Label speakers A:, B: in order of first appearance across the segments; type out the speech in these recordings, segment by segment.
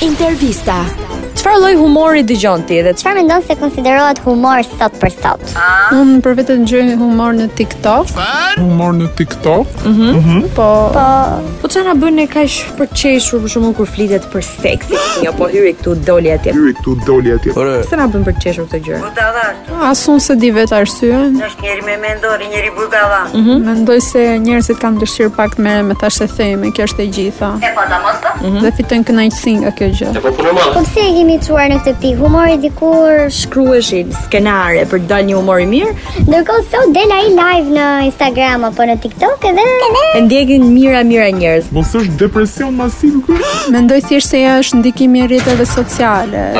A: Intervista.
B: Çfarë lloj humori dëgjon ti dhe çfarë
C: Çfarë mendon se konsiderohet humor sot për sot?
D: Unë për vetë dëgjoj humor në TikTok,
E: humor në TikTok,
D: po
B: po çfarë na bën e kaq përqeshur për shembull kur flitet për seksin? Jo, po hyri këtu doli atje.
E: hyri këtu doli atje. Por
B: Pse na bën përqeshur këtë gjë?
D: as unë se di vetë arsyen. Mendoj se njerëzit kanë dëshirë pak të merren me tash e theme, kjo është e gjitha. E po ta mos Dhe fitojnë kënaqësi nga kjo gjë.
C: Po pse e kemi çuar në këtë pikë? Humori dikur
B: Shkruheshin skenare për të dalë një humor i mirë,
C: Ndërkohë sot del ai live në Instagram apo në TikTok edhe
B: e ndjekin mira mira njerëz.
E: mos është depresion masiv ky?
D: Mendoj thjesht se ja është ndikimi i rrjeteve sociale.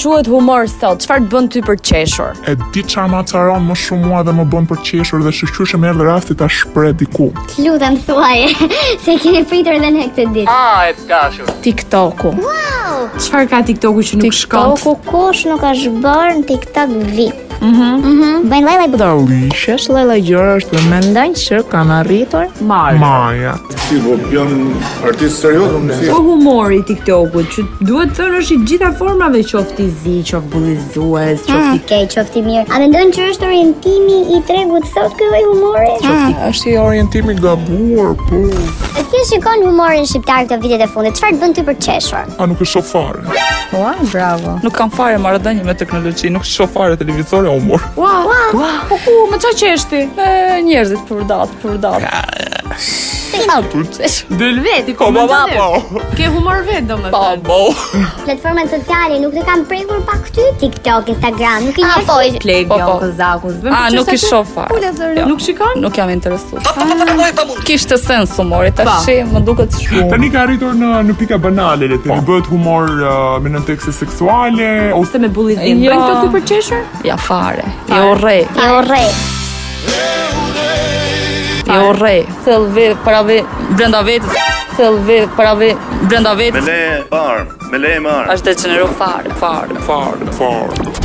B: Quhet humor sot. Çfarë të bën ty përqeshur?
E: E di çfarë ma çaron më shumë mua dhe më bën përqeshur dhe shqyrshëm erdhi rasti ta shpreh diku.
C: të lutem thuaje se keni pritur edhe në këtë ditë.
B: TikToku.
C: Wow!
B: Çfarë ka TikToku që nuk shkon?
C: ku kush Po nuk është bërë në TikTok VIP. Mhm. Mhm. Bëjnë vaj vaj
F: Qesh lloj-lloj gjërash dhe mendojnë që kanë arritur
B: Marr.
E: Maja.
G: Si, po janë artistë serioz, unë si.
B: Po humori i TikTokut që duhet të thënë është i gjitha formave, qoftë i zi, qoftë bullizues, qoftë i
C: Okej, qoftë i mirë. A mendon që është orientimi i tregut sot ky lloj humori?
E: Është i orientimi gabuar, po.
C: Si e shikon humorin shqiptar këto vitet e fundit? Çfarë të bën ty për qeshur?
E: A nuk e shoh fare.
F: Ua, bravo
H: Nuk kam fare marrëdhënie me teknologji, nuk shoh fare televizore humor.
B: Po ku, më çfarë qeshti? E, njerëzit për datë, për datë.
H: Del veti ko baba po.
D: Ke humor vetë domethënë.
H: Po po.
C: Platformat sociale nuk të kanë prekur pa këty? TikTok, Instagram, nuk i njeh. Po,
B: Play
H: Po, po.
B: Kozaku, s'bën
H: A
B: për
H: nuk
B: qeshti
H: i
B: aty?
H: shoh fare.
B: Jo. Nuk shikon?
H: Nuk jam interesuar. Kishte sens humori
B: Pa.
H: tash, më duket shumë.
E: Tani ka arritur në në pika banale le të
H: Po.
E: themi. Bëhet humor uh, me nën tekste seksuale ose
B: Se me bullizim.
H: Jo.
B: Bën këto ty për qeshur?
H: Ja fare. Jo, Ti urre,
C: e orre.
H: ti urre. Thell ve para ve jo, brenda vetes. Thell ve para ve brenda vetes.
G: Me le barm, me le marm.
H: Është degeneru fare, fare.
E: fare, fare.